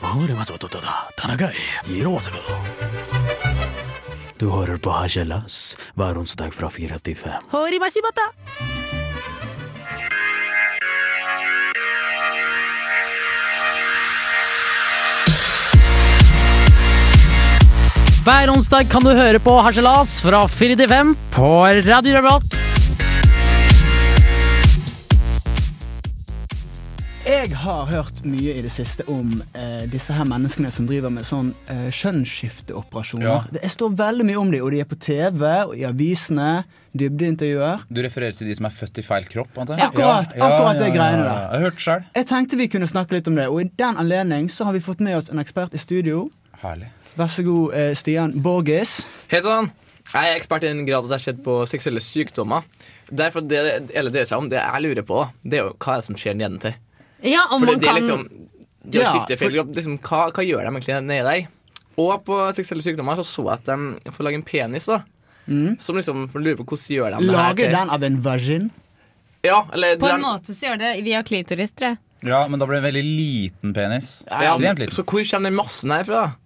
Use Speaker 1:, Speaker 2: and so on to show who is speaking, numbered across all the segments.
Speaker 1: 방울의마저도다 다나가이 이로와서가 Du hører på Hagelas hver onsdag fra 4 til 5.
Speaker 2: Horimasibata. Hver onsdag kan du høre på Harselas fra 4 til 5 på Radio Revolt.
Speaker 3: Jeg har hørt mye i det siste om eh, disse her menneskene som driver med sånn eh, kjønnsskifteoperasjoner.
Speaker 4: Ja.
Speaker 3: Det jeg står veldig mye om dem, og de er på TV og i avisene. Dybdeintervjuer.
Speaker 4: Du refererer til de som er født i feil kropp? antar
Speaker 3: Ja, akkurat, akkurat det greiene der.
Speaker 4: Jeg har hørt sjøl.
Speaker 3: Jeg tenkte vi kunne snakke litt om det, og i den anledning så har vi fått med oss en ekspert i studio.
Speaker 4: Herlig.
Speaker 3: Vær så god, eh, Stian Borges.
Speaker 5: Hei sann! Jeg er ekspert i den grad at jeg har sett på seksuelle sykdommer. Derfor det det hele dreier seg om, det jeg lurer på, det er jo hva er det som skjer nedentil.
Speaker 6: Ja, om
Speaker 5: For
Speaker 6: man
Speaker 5: det, det
Speaker 6: kan
Speaker 5: er liksom det å
Speaker 3: Ja,
Speaker 5: skifte
Speaker 3: for-
Speaker 5: feil kropp, liksom, hva, hva gjør de egentlig nedi der? Og på seksuelle sykdommer så så jeg at de får lage en penis, da. Som liksom for å lure på hvordan gjør de det her
Speaker 3: Lager
Speaker 5: til
Speaker 3: den av en vagin.
Speaker 5: Ja, eller
Speaker 6: På en
Speaker 5: den-
Speaker 6: måte så gjør det via klitoris, tror jeg.
Speaker 4: Ja, men da blir det en veldig liten penis.
Speaker 5: ja,
Speaker 4: Ekstremt liten.
Speaker 5: Så hvor kommer den massen her fra?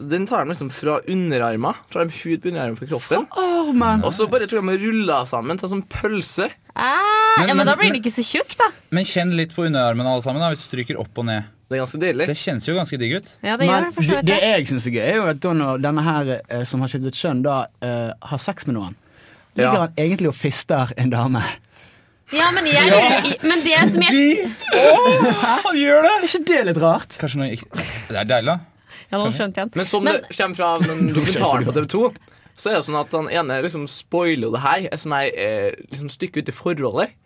Speaker 5: Den tar de liksom fra underarmer. Tar de hud på underarmen på kroppen.
Speaker 3: Åh, men
Speaker 5: Og så bare tror jeg de ruller sammen, sånn som pølse.
Speaker 6: Ah,
Speaker 4: Men-
Speaker 6: ja,
Speaker 4: men-
Speaker 6: men da blir
Speaker 4: men-
Speaker 6: den ikke så tjukk, da.
Speaker 4: Men kjenn litt på underarmene alle sammen da, hvis du stryker opp og ned.
Speaker 5: Det er ganske deilig.
Speaker 4: Det kjennes jo ganske digg ut.
Speaker 6: Ja, det gjør
Speaker 3: Men
Speaker 6: den for så
Speaker 3: det,
Speaker 6: vidt
Speaker 3: det
Speaker 6: det.
Speaker 3: jeg syns er gøy, er jo at da når denne her eh, som har skiftet kjønn, da eh, har sex med noen, ligger
Speaker 5: Ja.
Speaker 3: han egentlig og fister en dame.
Speaker 6: Ja, men, jeg, lurer- men det som jeg
Speaker 4: Han gjør det!
Speaker 3: Er ikke det litt rart?
Speaker 4: Kanskje noe ikke... Det er deilig, da.
Speaker 6: Ja, nå skjønte jeg den.
Speaker 5: Men som
Speaker 6: Men-
Speaker 5: det kommer fra den dokumentaren på TV 2, så er det sånn at den ene liksom spoiler jo det her. Et sånn her eh, liksom stykke ut i forholdet.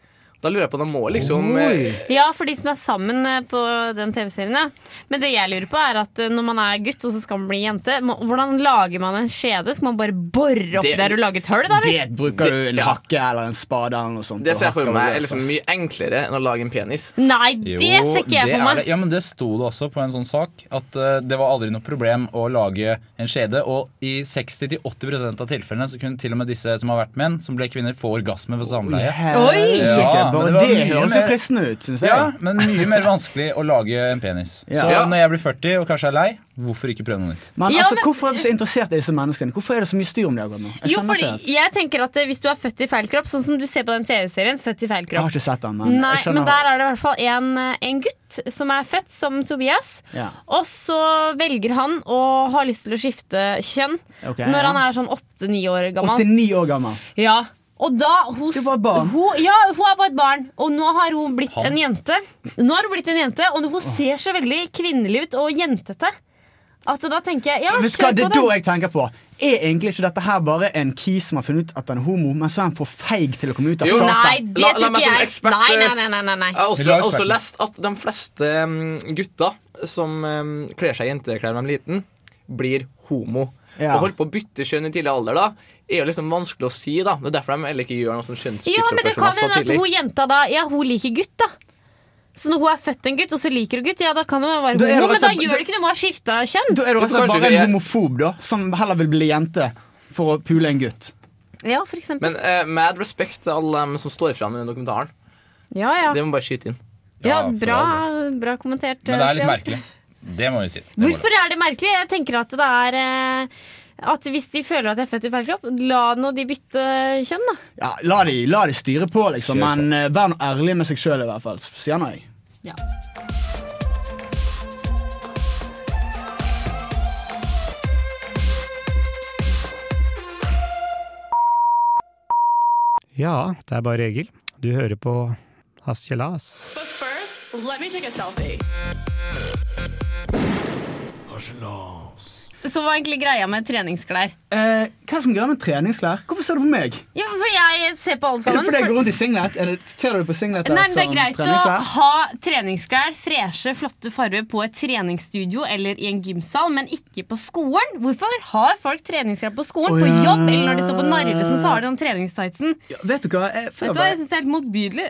Speaker 5: Da lurer jeg på, da må liksom eh,
Speaker 6: Ja, for de som er sammen eh, på den TV-serien. ja. Men det jeg lurer på, er at eh, når man er gutt og så skal man bli jente, må- hvordan lager man en skjede? Skal man bare bore oppi
Speaker 5: Det-
Speaker 6: der og lage et hull, da? eller?
Speaker 3: Det bruker du en
Speaker 5: ja.
Speaker 3: hakke eller en spade eller noe sånt.
Speaker 5: Det
Speaker 3: og
Speaker 5: ser jeg for
Speaker 3: hakker
Speaker 5: meg
Speaker 3: og
Speaker 5: er
Speaker 3: løser.
Speaker 5: liksom mye enklere enn å lage en penis.
Speaker 6: Nei,
Speaker 4: Jo,
Speaker 6: det ser ikke
Speaker 4: det
Speaker 6: jeg for
Speaker 4: er
Speaker 6: meg.
Speaker 4: det. Ja, men det sto det også på en sånn sak, at eh, det var aldri noe problem å lage en skjede, og i 60-80% av tilfellene så kunne til og med disse som har vært menn, som ble kvinner, få orgasme for samleie.
Speaker 3: Helsike,
Speaker 6: Oi!
Speaker 4: Ja, men
Speaker 3: bare
Speaker 4: det var
Speaker 3: det
Speaker 4: mye
Speaker 3: høres jo
Speaker 4: mer-
Speaker 3: fristende ut, syns jeg.
Speaker 4: Ja, men mye mer vanskelig å lage en penis.
Speaker 3: Ja.
Speaker 4: Så
Speaker 5: Ja.
Speaker 4: når jeg blir 40 og kanskje er lei, hvorfor ikke prøve noe nytt?
Speaker 3: Men
Speaker 6: Ja,
Speaker 3: altså,
Speaker 6: men-
Speaker 3: hvorfor er vi så interessert i disse menneskene? Hvorfor er det så mye styr om det akkurat nå? Jeg
Speaker 6: Jo,
Speaker 3: skjønner
Speaker 6: fordi
Speaker 3: ikke helt.
Speaker 6: jeg tenker at eh, Hvis du er født i feil kropp, sånn som du ser på den TV-serien Født i feil
Speaker 3: Jeg
Speaker 6: kropp
Speaker 3: har ikke sett den, men
Speaker 6: Nei,
Speaker 3: jeg
Speaker 6: men
Speaker 3: skjønner.
Speaker 6: der er det i hvert fall en, eh, en gutt som er født som Tobias.
Speaker 3: Ja.
Speaker 6: Og så velger han å ha lyst til å skifte kjønn
Speaker 3: Ok,
Speaker 6: når
Speaker 3: ja.
Speaker 6: han er sånn åtte-ni år gammel.
Speaker 3: 89 år gammel.
Speaker 6: Ja. Og da hun,
Speaker 3: Du var et barn.
Speaker 6: Hun, ja, hun er bare et barn, og nå har hun blitt
Speaker 4: Han.
Speaker 6: en jente. Nå har hun blitt en jente, Og hun ser så veldig kvinnelig ut og jentete. Altså, da tenker jeg ja,
Speaker 3: Vet du hva,
Speaker 6: kjør
Speaker 3: det
Speaker 6: på
Speaker 3: er da
Speaker 6: den.
Speaker 3: jeg tenker på. Er egentlig ikke dette her bare en kis som har funnet ut at han er homo, men så er han for feig til å komme ut av
Speaker 5: Jo,
Speaker 3: skapet?
Speaker 6: Nei, det
Speaker 5: La- la
Speaker 6: tror
Speaker 5: meg
Speaker 6: ikke
Speaker 5: som
Speaker 6: jeg.
Speaker 5: ekspert,
Speaker 6: Nei, nei,
Speaker 5: eh,
Speaker 6: nei, nei, nei,
Speaker 5: Jeg har
Speaker 4: Vi
Speaker 5: også,
Speaker 4: lar
Speaker 5: jeg har også
Speaker 4: eksperten.
Speaker 5: lest at de fleste mm, gutter som mm, kler seg i jenteklær når de er liten, blir homo.
Speaker 3: Ja.
Speaker 5: Å holde på å bytte kjønn i tidlig alder da, er jo liksom vanskelig å si. da Det er derfor de heller ikke gjør noen sånn
Speaker 6: Ja, men det kan
Speaker 5: kjønnsskifteoperasjoner så
Speaker 6: hende at
Speaker 5: tidlig.
Speaker 6: hun jenta da Ja, hun liker gutt, da. Så når hun er født en gutt, og så liker hun gutt, ja, da kan hun være
Speaker 3: Da er
Speaker 6: homo.
Speaker 3: det
Speaker 6: Men da
Speaker 3: altså-
Speaker 6: gjør det ikke noe om hun har skifta kjønn.
Speaker 3: Da er du
Speaker 5: Jo,
Speaker 3: rett og slett
Speaker 5: kanskje
Speaker 3: bare
Speaker 5: vi
Speaker 3: en
Speaker 5: er-
Speaker 3: homofob da, som heller vil bli jente for å pule en gutt.
Speaker 6: Ja, for eksempel.
Speaker 5: Men eh, mad respekt til alle dem som står fram i den dokumentaren.
Speaker 6: Ja, ja.
Speaker 5: Det må bare skyte inn.
Speaker 6: ja
Speaker 4: Ja, for
Speaker 6: bra,
Speaker 4: all
Speaker 6: bra kommentert.
Speaker 4: Men det er litt
Speaker 6: Stian.
Speaker 4: merkelig. Det må vi si. Det må vi.
Speaker 6: Hvorfor er det merkelig? Jeg tenker at det er eh, At hvis de føler at de er født i feil kropp, la nå de bytte kjønn, da.
Speaker 3: Ja, la de, la de styre på, liksom,
Speaker 4: Kjør på.
Speaker 3: men eh, vær nå ærlig med seg sjøl, i hvert fall. Sier nå jeg.
Speaker 7: Ja, det er bare Egil. Du hører på Hasjelas.
Speaker 8: But first, let me take a selfie.
Speaker 6: Så var egentlig greia med treningsklær.
Speaker 3: Eh, hva er det som gjør med treningsklær? Hvorfor ser du på meg?
Speaker 6: Ja, for jeg ser på
Speaker 3: Er
Speaker 6: alle
Speaker 3: det
Speaker 6: sammen.
Speaker 3: fordi jeg
Speaker 6: for-
Speaker 3: går rundt i singlet? Er sånn det, ser du på singlet
Speaker 6: Nei, men Det
Speaker 3: som
Speaker 6: er greit å
Speaker 3: treningsklær?
Speaker 6: ha treningsklær, freshe, flotte farger på et treningsstudio eller i en gymsal, men ikke på skolen. Hvorfor har folk treningsklær på
Speaker 3: Å,
Speaker 6: skolen? På
Speaker 3: ja.
Speaker 6: jobb eller når de står på Narvesen, så har de den treningstightsen.
Speaker 3: Ja, vet du hva? Jeg, før
Speaker 6: Vet du hva,
Speaker 3: bare-
Speaker 6: jeg syns det er helt motbydelig.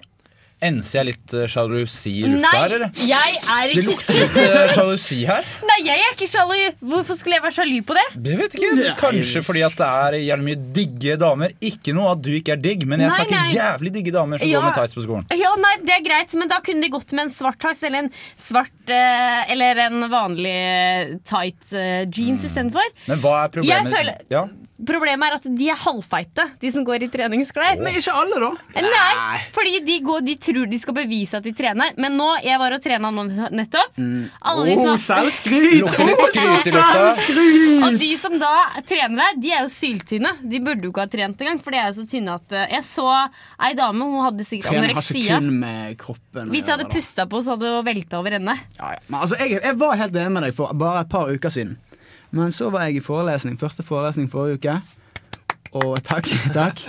Speaker 4: Enser jeg litt eh, sjalusi i lufta her,
Speaker 9: Nei,
Speaker 4: eller?
Speaker 9: jeg er
Speaker 4: Det
Speaker 9: ikke
Speaker 4: lukter litt eh, sjalusi her.
Speaker 9: Nei, jeg er ikke sjalu. Hvorfor skulle jeg være sjalu på det?
Speaker 4: Jeg vet ikke, Kanskje fordi at det er jævlig mye digge damer. Ikke noe at du ikke er digg, men jeg
Speaker 6: Nei,
Speaker 4: snakker
Speaker 6: nei.
Speaker 4: jævlig digge damer som
Speaker 6: Ja.
Speaker 4: går med tights på skolen.
Speaker 6: Ja, nei, det er greit, men da kunne de gått med en svart tights eller en svart eh, Eller en vanlig eh, tight eh, jeans istedenfor.
Speaker 4: Men hva er problemet?
Speaker 6: Jeg føler-
Speaker 4: ja?
Speaker 6: Problemet er at de er halvfeite, de som går i treningsklær.
Speaker 5: Men ikke alle, da.
Speaker 6: Nei, fordi de, går, de tror de skal bevise at de trener. Men nå, jeg var og trena nå nettopp. Alle de
Speaker 3: Oh,
Speaker 6: som,
Speaker 3: selvskryt!
Speaker 4: Lukter litt skryt i lufta.
Speaker 6: og de som da trener der, de er jo syltynne. De burde jo ikke ha trent engang, for de er jo så tynne at eh, Jeg så ei dame, hun hadde sikkert
Speaker 3: Trening har ikke
Speaker 6: anoreksia.
Speaker 3: kun med kroppen å
Speaker 6: Hvis jeg
Speaker 3: gjøre,
Speaker 6: hadde
Speaker 3: da.
Speaker 6: pusta på, så hadde hun velta over ende.
Speaker 3: Ja, ja. Men altså, jeg, jeg var helt enig med deg for bare et par uker siden. Men så var jeg i forelesning. Første forelesning forrige uke. Og takk, takk.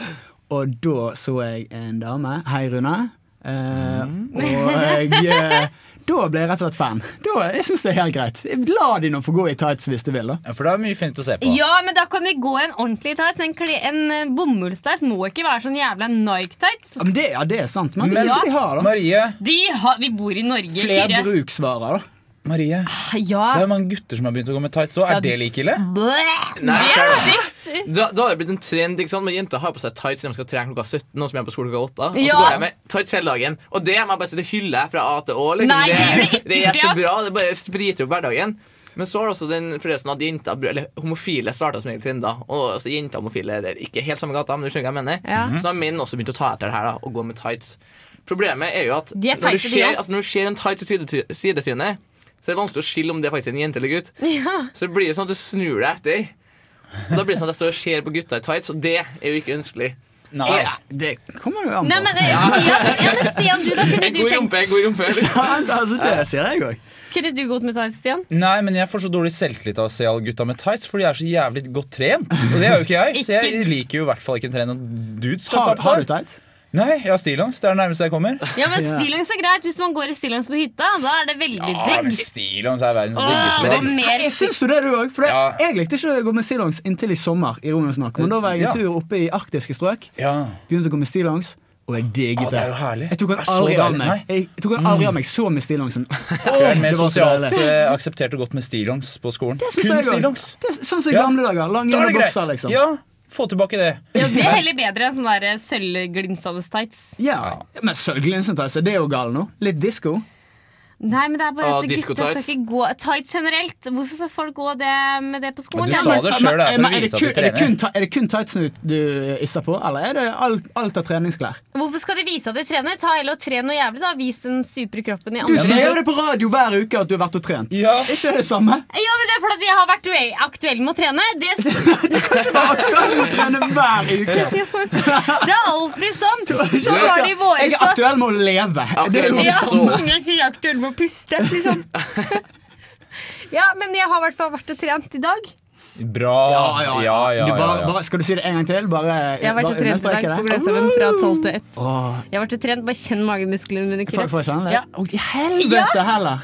Speaker 3: Og da så jeg en dame. Hei, Rune. Eh, Og jeg eh, Da ble jeg rett og slett fan. Da, jeg syns det er helt greit. La de nå få gå i tights hvis de vil, da.
Speaker 4: Ja, For det er mye fint å se på.
Speaker 6: Ja, men da kan de gå i en ordentlig tights. En, kle- en eh, bomullstights må ikke være sånn jævla Nike-tights.
Speaker 3: Ja, men det, ja, det er sant. Men,
Speaker 4: Men-
Speaker 3: hvis ikke de har da
Speaker 4: Marie,
Speaker 6: De har Vi bor i Norge, Kyrre.
Speaker 3: flerbruksvarer, da.
Speaker 4: Marie,
Speaker 6: Ja.
Speaker 4: det er mange gutter som har begynt å gå med tights òg.
Speaker 6: Ja,
Speaker 4: Er det like ille?
Speaker 6: Blæh.
Speaker 5: Nei,
Speaker 6: Det er
Speaker 5: skjønner.
Speaker 6: stygt.
Speaker 5: Da, da har det blitt en trend ikke sant? Men jenter har på seg tights når de skal trene klokka 17. Nå som jeg er på skole klokka 8 Og så
Speaker 6: Ja.
Speaker 5: går jeg med tights hele dagen. Og det må jeg bare si, det hyller jeg fra A til Å. Liksom.
Speaker 6: Nei, det gjør
Speaker 5: det,
Speaker 6: jeg
Speaker 5: det
Speaker 6: ikke.
Speaker 5: er så bra. Det bare spriter opp hverdagen. Men så har det også den forresten at jenter, eller homofile starta som egen trender. Og altså, jenter og homofile det er ikke helt samme gata, men du skjønner hva jeg mener.
Speaker 6: Ja.
Speaker 5: Så da har menn også begynt å ta etter det her da, og gå med tights. Problemet er jo at
Speaker 6: De er
Speaker 5: når, du
Speaker 6: feite, de
Speaker 5: ser,
Speaker 6: også.
Speaker 5: altså, når du ser en tights i sidety- sidesynet, så er det vanskelig å skille om det er faktisk er en jente eller gutt.
Speaker 6: Ja.
Speaker 5: Så det blir jo sånn at du snur deg etter. Og da blir det sånn at jeg står og ser på gutta i tights, og det er jo ikke ønskelig.
Speaker 4: Nei.
Speaker 3: Ja, det kommer jo an
Speaker 6: Nei,
Speaker 3: på.
Speaker 6: men, eh, Stian, ja, men Stian, du, da kunne
Speaker 5: En
Speaker 6: du
Speaker 5: god
Speaker 6: tenkt
Speaker 5: rumpe, en god rumpe.
Speaker 3: Sant? altså, det sier jeg òg.
Speaker 6: Kunne du gått med tights, Stian?
Speaker 4: Nei, men jeg får så dårlig selvtillit av å se alle gutta med tights, for de er så jævlig godt trent. Og det er jo ikke jeg, så jeg liker jo i hvert fall ikke en trent dude skal
Speaker 3: Har,
Speaker 4: ta på
Speaker 3: har du
Speaker 4: seg.
Speaker 3: tights?
Speaker 4: Nei, jeg har stillongs. Det er det nærmeste jeg kommer.
Speaker 6: Ja, men Stillongs er greit hvis man går i stillongs på hytta. Da er det veldig
Speaker 4: Ja, Ah, men
Speaker 6: digg.
Speaker 4: stillongs er verdens
Speaker 6: Åh,
Speaker 4: diggeste
Speaker 6: og
Speaker 4: plagg.
Speaker 6: mer
Speaker 3: Jeg syns jo det, du òg. For det,
Speaker 4: Ja.
Speaker 3: jeg likte ikke å gå med stillongs inntil i sommer. i Romeo Snakk, Men da var jeg en
Speaker 4: Ja.
Speaker 3: tur oppe i arktiske strøk,
Speaker 4: Ja.
Speaker 3: begynte å gå med stillongs, og jeg
Speaker 4: Å,
Speaker 3: digget
Speaker 4: det
Speaker 3: det.
Speaker 4: er jo herlig.
Speaker 3: Jeg tok den
Speaker 4: Det er så
Speaker 3: aldri av
Speaker 4: deilig.
Speaker 3: meg. Jeg tok den aldri av meg så med stillongsen.
Speaker 4: Skal være mer
Speaker 3: Det var så
Speaker 4: sosialt
Speaker 3: deilig.
Speaker 4: eh, akseptert og godt med stillongs på skolen.
Speaker 3: Det synes
Speaker 4: Kun
Speaker 3: jeg også.
Speaker 4: stillongs.
Speaker 3: Det er Sånn som i
Speaker 4: Ja.
Speaker 3: gamle dager. Lange
Speaker 4: Da er det greit.
Speaker 3: bokser, liksom.
Speaker 4: Ja, få tilbake det.
Speaker 6: Ja, det er heller bedre enn sånne der eh, sølvglinsende tights.
Speaker 3: Ja. Men sølvglinsen tar seg, det er jo gal nå. Litt disko.
Speaker 6: Nei, men det er bare
Speaker 5: Ah,
Speaker 6: at
Speaker 5: disco
Speaker 6: gutta skal
Speaker 5: tights.
Speaker 6: ikke gå Tights generelt. Hvorfor skal folk gå det med det på
Speaker 4: Men
Speaker 6: skolen?
Speaker 4: du
Speaker 6: Ja,
Speaker 4: sa det
Speaker 6: men-
Speaker 4: selv, det er for å
Speaker 3: Men
Speaker 4: vise at
Speaker 3: kun, er
Speaker 4: du
Speaker 3: det
Speaker 4: trener.
Speaker 3: kun, ti- er det kun tightsen du- du isser på, eller er det alt, alt av treningsklær?
Speaker 6: Hvorfor skal de vise at de trener? Ta heller og tren noe jævlig, da. Vis den supre kroppen i
Speaker 3: Du
Speaker 6: andre.
Speaker 3: sier jo det på radio hver uke at du har vært og trent.
Speaker 4: Ja.
Speaker 3: Ikke det samme?
Speaker 6: Ja, men det er fordi at jeg har vært ue- aktuell med å trene. Det,
Speaker 3: Jeg må trene hver uke.
Speaker 6: det er alltid sånn. Sånn var det i vår
Speaker 3: Jeg er
Speaker 6: også.
Speaker 3: aktuell med å leve. Det er sånn- jo
Speaker 5: Ja.
Speaker 3: det samme.
Speaker 6: Jeg er ikke aktuell med å puste, liksom. Ja, men jeg har i hvert fall vært og trent i dag.
Speaker 4: Bra. Ja, ja, ja.
Speaker 3: Du
Speaker 4: ja,
Speaker 3: bare, bare, skal du si det en gang til? Bare,
Speaker 6: Jeg har vært og
Speaker 3: bare
Speaker 6: trent i dag
Speaker 3: understreke
Speaker 6: på
Speaker 3: det.
Speaker 6: Gløshaugen fra 12 til 1.
Speaker 3: Åh,
Speaker 6: Jeg har vært og trent, Bare kjenn magemusklene mine.
Speaker 3: Får
Speaker 6: Kyrre.
Speaker 3: får jeg kjenne det?
Speaker 6: Ja.
Speaker 3: Å, i helvete heller!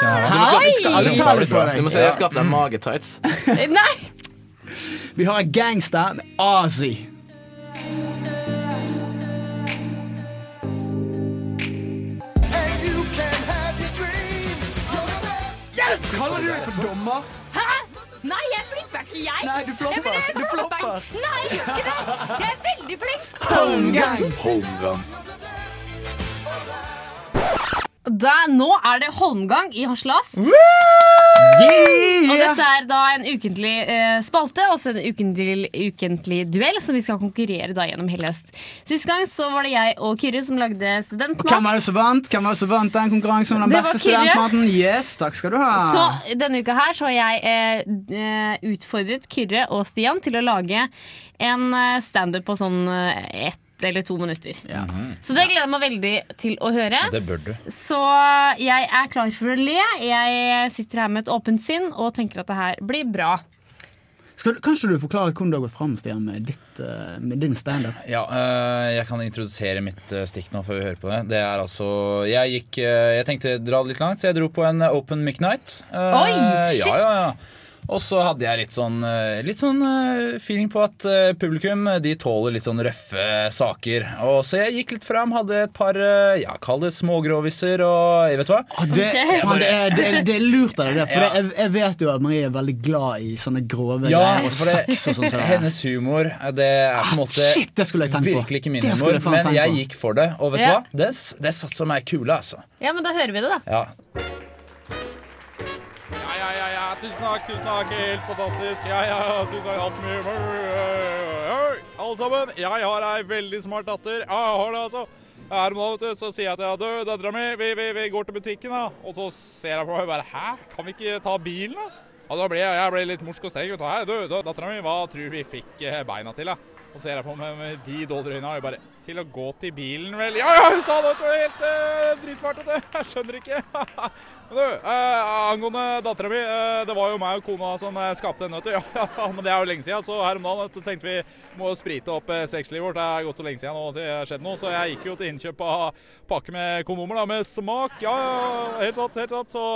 Speaker 4: Ja.
Speaker 3: Hei! Skal alle ta det på
Speaker 5: Du må
Speaker 3: deg?
Speaker 5: si jeg skaffer deg magetights.
Speaker 6: Nei!
Speaker 3: Vi har en gangster med Ozzy. Kaller du deg for dommer?
Speaker 6: Hæ? Nei, jeg flipper ikke, jeg.
Speaker 3: Nei, du flopper.
Speaker 6: Ja, men jeg
Speaker 3: Du flopper.
Speaker 6: ikke. Nei, jeg gjør ikke det. Jeg er veldig flink.
Speaker 3: Holmgang!
Speaker 6: Da, nå er det holmgang i Harselas. Og dette er da en ukentlig eh, spalte, også en ukentlig, ukentlig duell, som vi skal konkurrere da gjennom hele høst. Sist gang så var det jeg og Kyrre som lagde
Speaker 3: Hvem var
Speaker 6: studentmat.
Speaker 3: det som vant? Hvem var det som vant den konkurransen om den
Speaker 6: Det var
Speaker 3: beste
Speaker 6: Kyrre.
Speaker 3: studentmaten? Yes, takk skal du ha.
Speaker 6: Så denne uka her så har jeg eh, d- eh, utfordret Kyrre og Stian til å lage en eh, standup på sånn eh, ett eller to minutter.
Speaker 3: Mhm.
Speaker 6: Så det gleder jeg meg veldig til å høre.
Speaker 4: Det bør du.
Speaker 6: Så jeg er klar for å le. Jeg sitter her med et åpent sinn og tenker at det her blir bra.
Speaker 3: Skal du, kanskje du forklare hvordan du har gått fram Stian, med, ditt, eh, med din standup?
Speaker 4: Ja, øh, jeg kan introdusere mitt øh, stikk nå før vi hører på det. Det er altså Jeg gikk øh, Jeg tenkte dra det litt langt, så jeg dro på en øh, open mic night. Eh,
Speaker 6: Oi, shit!
Speaker 4: Ja, ja, ja. Og så hadde jeg litt sånn, eh, litt sånn eh, feeling på at eh, publikum eh, de tåler litt sånn røffe saker. Og så jeg gikk litt fram, hadde et par eh, ja, kall det smågroviser og jeg vet du hva.
Speaker 3: Ah, det, faen, det, er, det, er, det er lurt av deg, det. For
Speaker 4: Ja.
Speaker 3: det- jeg, jeg vet jo at Marie er veldig glad i sånne grove
Speaker 4: Ja,
Speaker 3: greier. Og
Speaker 4: for det,
Speaker 3: sex og sånn. som det er. Ah,
Speaker 4: hennes humor eh, det er på en måte
Speaker 3: Shit, det skulle jeg tenkt på.
Speaker 4: virkelig ikke min
Speaker 3: Det skulle
Speaker 4: humor,
Speaker 3: jeg faen
Speaker 4: men
Speaker 3: tenkt
Speaker 4: jeg
Speaker 3: på.
Speaker 4: gikk for det. Og vet du
Speaker 9: Ja.
Speaker 4: hva? Det, s- det satt som ei kule, altså.
Speaker 9: Ja, men da hører vi det, da.
Speaker 4: Ja.
Speaker 10: Ja, ja, ja, ja, tusen takk, tusen takk, helt fantastisk. Ja, ja, ja, tusen takk, alt mye humor. Hei, Alle sammen, jeg har ei veldig smart datter. Ja, jeg har det, altså. Her om dagen, vet du, så sier jeg til henne, du, dattera mi, vi, vi, vi går til butikken, da. Og så ser jeg på meg og bare, hæ, kan vi ikke ta bilen, da? Ja, da ble jeg, jeg ble litt morsk og streng, vet du. Hei, du, du dattera mi, hva tror vi fikk eh, beina til, da? Og så ser jeg på meg med de dollerøyne, og jeg bare, til å gå til bilen, vel? Ja, ja, hun sa det, vet du, helt eh, dritsmart, vet du. Jeg skjønner ikke. Men Du, eh, angående dattera mi. Eh, det var jo meg og kona som eh, skapte henne, vet du. Ja, ja, men det er jo lenge siden, så her om dagen vet du, tenkte vi må jo sprite opp eh, sexlivet vårt. Det er gått så lenge siden nå at det har skjedd noe, så jeg gikk jo til innkjøp av pakke med kondomer da, med smak. Ja, ja, helt sant, helt sant. Så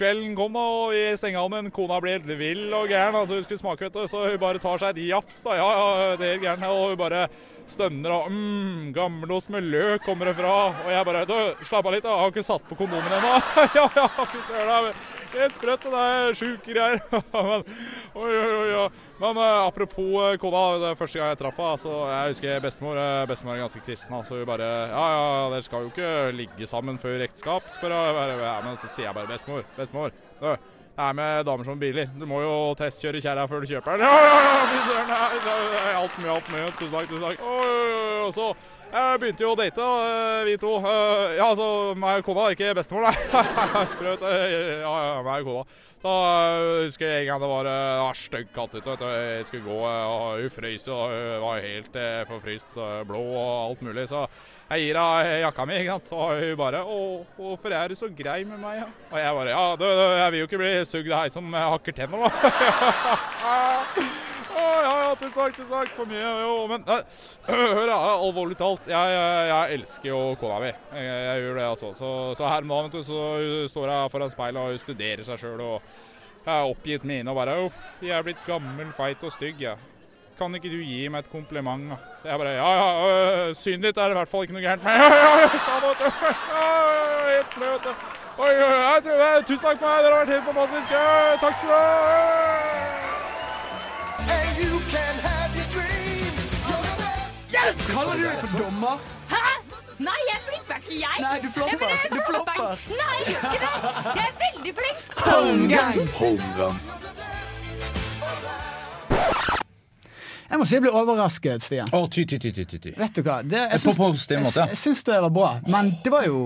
Speaker 10: kvelden kom da, og vi stenga om, men kona ble helt vill og gæren. Altså, hun skulle smake, vet du, så hun bare tar seg et jafs, da. Ja, ja, det er helt gæren. Og hun bare stønner og mm, gammelost med løk kommer det fra. Og jeg bare Du, slapp av litt, da. Jeg har ikke satt på kondomen ennå. ja, ja, fy søren. det er Helt sprøtt, og det er sjuke greier. Men, oi, oi, oi, ja. Men eh, apropos eh, kona, det er første gang jeg traff henne. Så jeg husker bestemor. eh, bestemor er ganske kristen. da, Så hun bare Ja, ja, dere skal jo ikke ligge sammen før ekteskap, spør hun. Jeg bare, Ja, men så sier jeg bare bestemor. Bestemor. Du. Det er med damer som biler. Du må jo testkjøre kjerra før du kjøper den. Ja, ja, ja! fy søren, nei, det er Alt mye, alt mye. Tusen takk, tusen takk. Oi, oi, oi, Og så eh, begynte jo å date, da, eh, vi to. Eh, Ja, altså meg og kona, ikke bestemor, nei. Sprøt. eh, Ja, ja, meg og kona. Da eh, husker jeg en gang det var eh, ah, stygg katt ute. vet du. Jeg skulle gå, eh, og hun frøs og hun var helt eh, forfryst, eh, blå og alt mulig. Så jeg gir henne eh, jakka mi, ikke sant? og hun bare 'Å, hvorfor er du så grei med meg?' Ja? Og jeg bare 'Ja, du, du, jeg vil jo ikke bli sugd av ei som hakker tenner', da. Å, ja, ja, tusen takk, tusen takk for mye. Jo, men nei, hør, da, alvorlig talt. Jeg, jeg, jeg elsker jo kona mi. Jeg, jeg gjør det, altså. Så, så her om dagen, vet du, så hun står hun foran speilet og hun studerer seg sjøl og jeg er oppgitt med henne og bare 'Uff, jeg er blitt gammel, feit og stygg', jeg. Kan ikke du gi meg et kompliment, da? Så jeg bare Ja, ja, øh, synet ditt er det i hvert fall ikke noe gærent med. Ja, ja, ja, sa det, vet du. Ja, ja, ja, Helt snø, vet du. Oi, oi, oi, jeg tror, jeg, tusen takk for meg, dere har vært helt fantastiske. Takk skal du ha.
Speaker 3: Kaller du deg for dommer?
Speaker 9: Hæ? Nei, jeg flipper ikke, jeg.
Speaker 3: Nei, du flopper.
Speaker 9: Ja, men jeg
Speaker 3: Du flopper.
Speaker 9: ikke. Nei, jeg gjør ikke det. Jeg er veldig flink.
Speaker 3: Jeg må si jeg ble overrasket, Stian.
Speaker 4: Å, ty, ty, ty, ty, ty, ty.
Speaker 3: Vet du hva? Det, jeg
Speaker 4: På
Speaker 3: syns-
Speaker 4: positiv
Speaker 3: jeg-
Speaker 4: måte.
Speaker 3: Jeg syns det var bra, men det var jo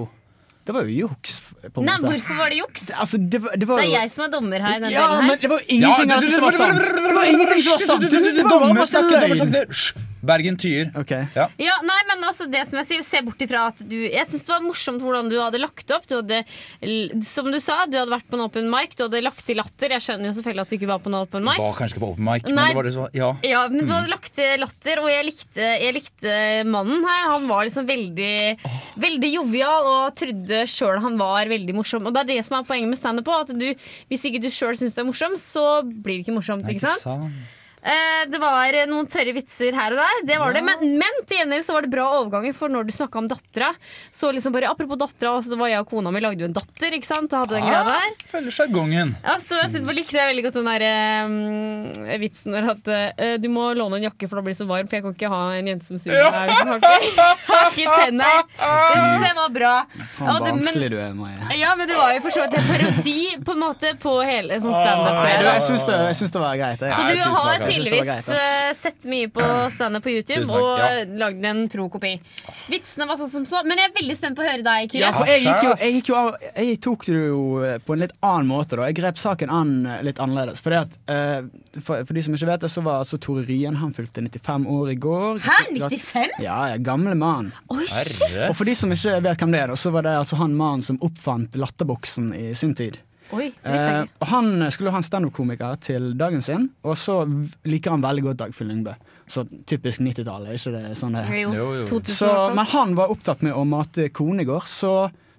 Speaker 3: Det var jo juks, på en
Speaker 6: Nei,
Speaker 3: måte.
Speaker 6: hvorfor var det juks?
Speaker 3: Altså, det, var- det var
Speaker 6: Det
Speaker 3: jo
Speaker 6: er jeg som er dommer her. i denne
Speaker 3: Ja,
Speaker 6: delen
Speaker 3: men
Speaker 6: her.
Speaker 3: det var jo ingenting
Speaker 4: Ja,
Speaker 3: av
Speaker 4: du-
Speaker 3: dette
Speaker 4: du-
Speaker 3: som var
Speaker 4: du-
Speaker 3: sant! Det var ingenting som var sant!
Speaker 4: Du, du, du,
Speaker 3: Det
Speaker 4: du,
Speaker 3: var bare
Speaker 4: Dommer
Speaker 3: masse
Speaker 4: snakker, dommer
Speaker 3: løgn.
Speaker 4: snakker. Hysj! Bergen tier.
Speaker 3: Ok.
Speaker 4: Ja.
Speaker 6: Ja, nei, men altså det som jeg sier, Se bort ifra at du Jeg syns det var morsomt hvordan du hadde lagt opp. Du hadde, l- som du sa, du hadde vært på en open mic, du hadde lagt til latter. Jeg skjønner jo selvfølgelig at du ikke var på en open mic.
Speaker 4: Var kanskje ikke på open mic, men
Speaker 6: Nei.
Speaker 4: det var det som var Ja.
Speaker 6: Ja, men du hadde lagt til latter, og jeg likte, jeg likte mannen her. Han var liksom veldig, veldig jovial og trodde sjøl han var veldig morsom. Og det er det som er poenget med standup òg, at du, hvis ikke du sjøl syns du er morsom, så blir det ikke morsomt.
Speaker 4: Nei,
Speaker 6: ikke sant? Eh, Det var eh, noen tørre vitser her og der, det var det. Men, men til gjengjeld så var det bra overganger, for når du snakka om dattera Så liksom bare, Apropos dattera, så var jeg og kona mi lagde jo en datter, ikke sant? Og hadde den greia der.
Speaker 4: Følger sjargongen.
Speaker 6: Ja, så jeg synes- likte jeg veldig godt den der eh, mm, vitsen når at eh, du må låne en jakke, for da blir det så varmt. For jeg kan ikke ha en jente som suger meg. hvis jeg har ikke- har ikke tenner. Det synes jeg var bra.
Speaker 3: Faen,
Speaker 6: Og det- men-
Speaker 3: barnslig du er, Marie.
Speaker 6: ja, men det var jo for så vidt en parodi på en måte på hele sånn standup.
Speaker 3: Nei, du, jeg syns det, jeg syns det var greit. Jeg.
Speaker 6: Så du
Speaker 4: tusen takk,
Speaker 6: har
Speaker 4: jeg
Speaker 3: synes det var greit,
Speaker 6: tydeligvis eh, sett mye på standup på YouTube
Speaker 4: Tusen takk,
Speaker 6: og
Speaker 4: ja.
Speaker 6: eh, lagd en tro kopi. Vitsene var sånn som så, men jeg er veldig spent på å høre deg, Kyrre.
Speaker 3: Ja, for jeg, gikk jo, jeg, gikk jo av, jeg tok det jo eh, på en litt annen måte. da Jeg grep saken an eh, litt annerledes. Fordi at, eh, for, for de som ikke vet det, så var altså Tore Ryen Han fylte 95 år i går.
Speaker 9: Hæ, 95?
Speaker 3: Ja, ja, gamle mann.
Speaker 6: Oi, shit.
Speaker 4: Herre.
Speaker 3: Og for de som ikke vet hvem det er, da, så var det altså han mannen som oppfant latterboksen i sin tid.
Speaker 6: Oi, det visste jeg
Speaker 3: Eh,
Speaker 6: ikke.
Speaker 3: og han skulle ha en standup-komiker til dagen sin, og så v- liker han veldig godt Dagfinn Lyngbø. Så typisk 90-tallet, er ikke det sånn det er?
Speaker 6: Jo,
Speaker 4: Eh, Jo, jo.
Speaker 6: 2000
Speaker 3: Så,
Speaker 6: i hvert fall.
Speaker 3: men han var opptatt med å mate kone i går, så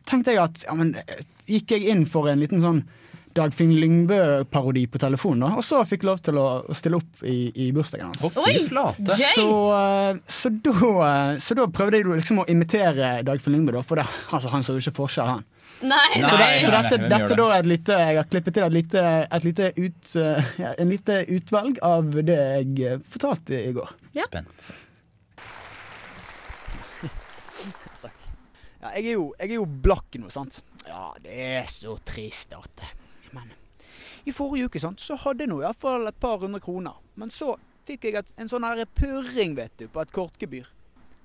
Speaker 3: tenkte jeg at ja, men, eh, gikk jeg inn for en liten sånn Dagfinn Lyngbø-parodi på telefon, da, og så fikk jeg lov til å, å stille opp i, i bursdagen hans.
Speaker 4: Å, fy
Speaker 6: Oi!
Speaker 4: flate.
Speaker 6: Gøy!
Speaker 3: Så, eh, så, da, eh, så da prøvde jeg liksom å imitere Dagfinn Lyngbø, da, for det, altså, han så jo ikke forskjell, han.
Speaker 6: Nei,
Speaker 4: Nei.
Speaker 3: Så, det, så
Speaker 4: nei,
Speaker 3: dette,
Speaker 4: hvem gjør
Speaker 3: dette
Speaker 4: det?
Speaker 3: da er et lite Jeg har klippet til et lite, et lite ut, eh, ja, en lite utvalg av det jeg eh, fortalte i går.
Speaker 4: Spent.
Speaker 3: Ja, jeg, er jo, jeg er jo blakk nå, sant. Ja, det er så trist at Men i forrige uke sant, så hadde jeg nå iallfall et par hundre kroner. Men så fikk jeg et, en sånn her purring, vet du, på et kortgebyr.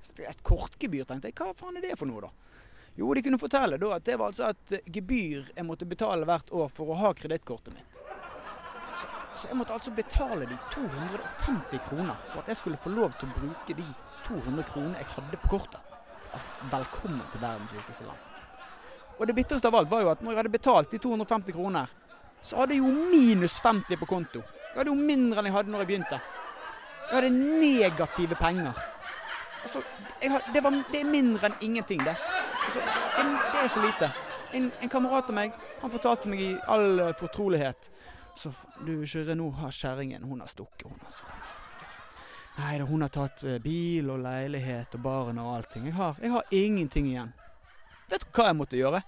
Speaker 3: Så det- Et kortgebyr, tenkte jeg. Hva faen er det for noe, da? Jo, de kunne fortelle da at det var altså et gebyr jeg måtte betale hvert år for å ha kredittkortet mitt. Så, så jeg måtte altså betale de 250 kroner for at jeg skulle få lov til å bruke de 200 kronene jeg hadde på kortet. Altså, velkommen til verdens rikeste land. Og det bitreste av alt var jo at når jeg hadde betalt de 250 kroner, så hadde jeg jo minus 50 på konto. Jeg hadde jo mindre enn jeg hadde når jeg begynte. Jeg hadde negative penger. Altså, jeg har, det, var, det er mindre enn ingenting, det. Altså, en, det er så lite. En, en kamerat av meg han fortalte meg i all eh, fortrolighet Så du, Kyrre, nå har kjerringen Hun har stukket, hun, altså. Nei da, hun har tatt eh, bil og leilighet og baren og allting. Jeg har, jeg har ingenting igjen. Vet du hva jeg måtte gjøre?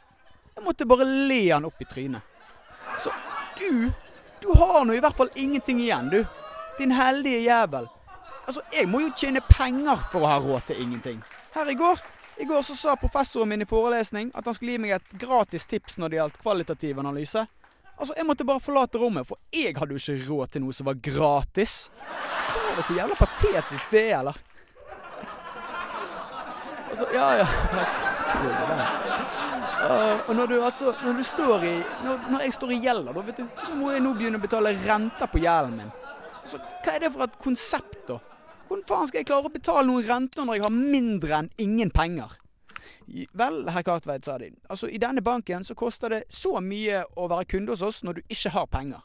Speaker 3: Jeg måtte bare le han opp i trynet. Så du, du har nå i hvert fall ingenting igjen, du. Din heldige jævel. Altså, jeg må jo tjene penger for å ha råd til ingenting. Her i går, i går så sa professoren min i forelesning at han skulle gi meg et gratis tips når det gjaldt kvalitativ analyse. Altså, jeg måtte bare forlate rommet, for jeg hadde jo ikke råd til noe som var gratis. Tror dere hvor jævla patetisk det er, eller? Altså, ja, ja. takk. Tror det er det. Eh, og når du altså Når du står i Når, når jeg står i gjeld, da, vet du, så må jeg nå begynne å betale renter på gjelden min. Altså, hva er det for et konsept, da? Hvordan faen skal jeg klare å betale noen renter når jeg har mindre enn ingen penger? I- Vel, herr Kartveit, sa de, altså i denne banken så koster det så mye å være kunde hos oss når du ikke har penger.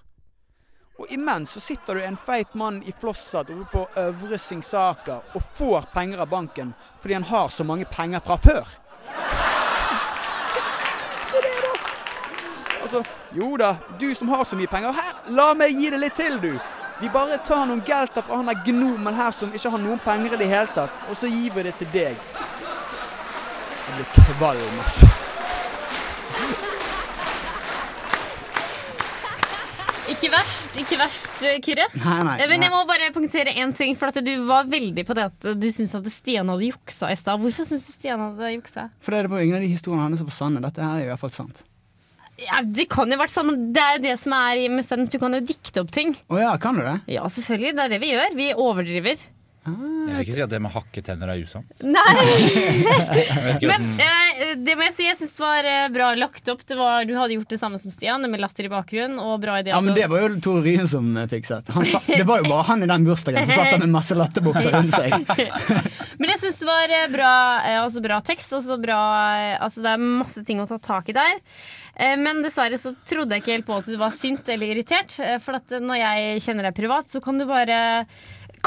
Speaker 3: Og imens så sitter du en feit mann i flosshatt oppe på Øvre Singsaker og får penger av banken fordi han har så mange penger fra før. Hva sykt er det, da? Altså, jo da, du som har så mye penger. Her, la meg gi det litt til, du. Vi bare tar noen gelter fra han der gnomen her som ikke har noen penger i det hele tatt, og så gir vi det til deg. Jeg blir kvalm, altså.
Speaker 6: Ikke verst, ikke verst, eh, Kyrre.
Speaker 3: Nei, nei.
Speaker 6: Eh, Men jeg må bare punktere én ting, for at du var veldig på det at du syntes at Stian hadde juksa i stad. Hvorfor syns du Stian hadde juksa?
Speaker 3: For det var ingen av de historiene hans som var sanne. Dette her er i hvert fall sant.
Speaker 6: Ja, det kan jo vært sammen. Det er jo det som er i- med stand-up. Du kan jo dikte opp ting.
Speaker 3: Å ja, kan du det?
Speaker 6: Ja, selvfølgelig. Det er det vi gjør. Vi overdriver.
Speaker 4: Jeg vil ikke si at det med hakke tenner er usant.
Speaker 6: Nei!
Speaker 4: Jeg vet ikke
Speaker 6: Men
Speaker 3: Mm.
Speaker 4: hvordan-
Speaker 6: eh, det må jeg si, jeg syns det var eh, bra lagt opp. Det var, du hadde gjort det samme som Stian, med latter i bakgrunnen. Og bra idé.
Speaker 3: Ja,
Speaker 6: at
Speaker 3: men
Speaker 6: du-
Speaker 3: Det var jo Tore Ryen som eh, fikset. Han sa, det var jo bare han i den bursdagen som satt der med masse latterbukser rundt seg.
Speaker 6: Men jeg syns det var eh, bra, eh, altså bra tekst. Altså bra, eh, altså det er masse ting å ta tak i der. Eh, Men dessverre så trodde jeg ikke helt på at du var sint eller irritert. eh, For at eh, når jeg kjenner deg privat, så kan du bare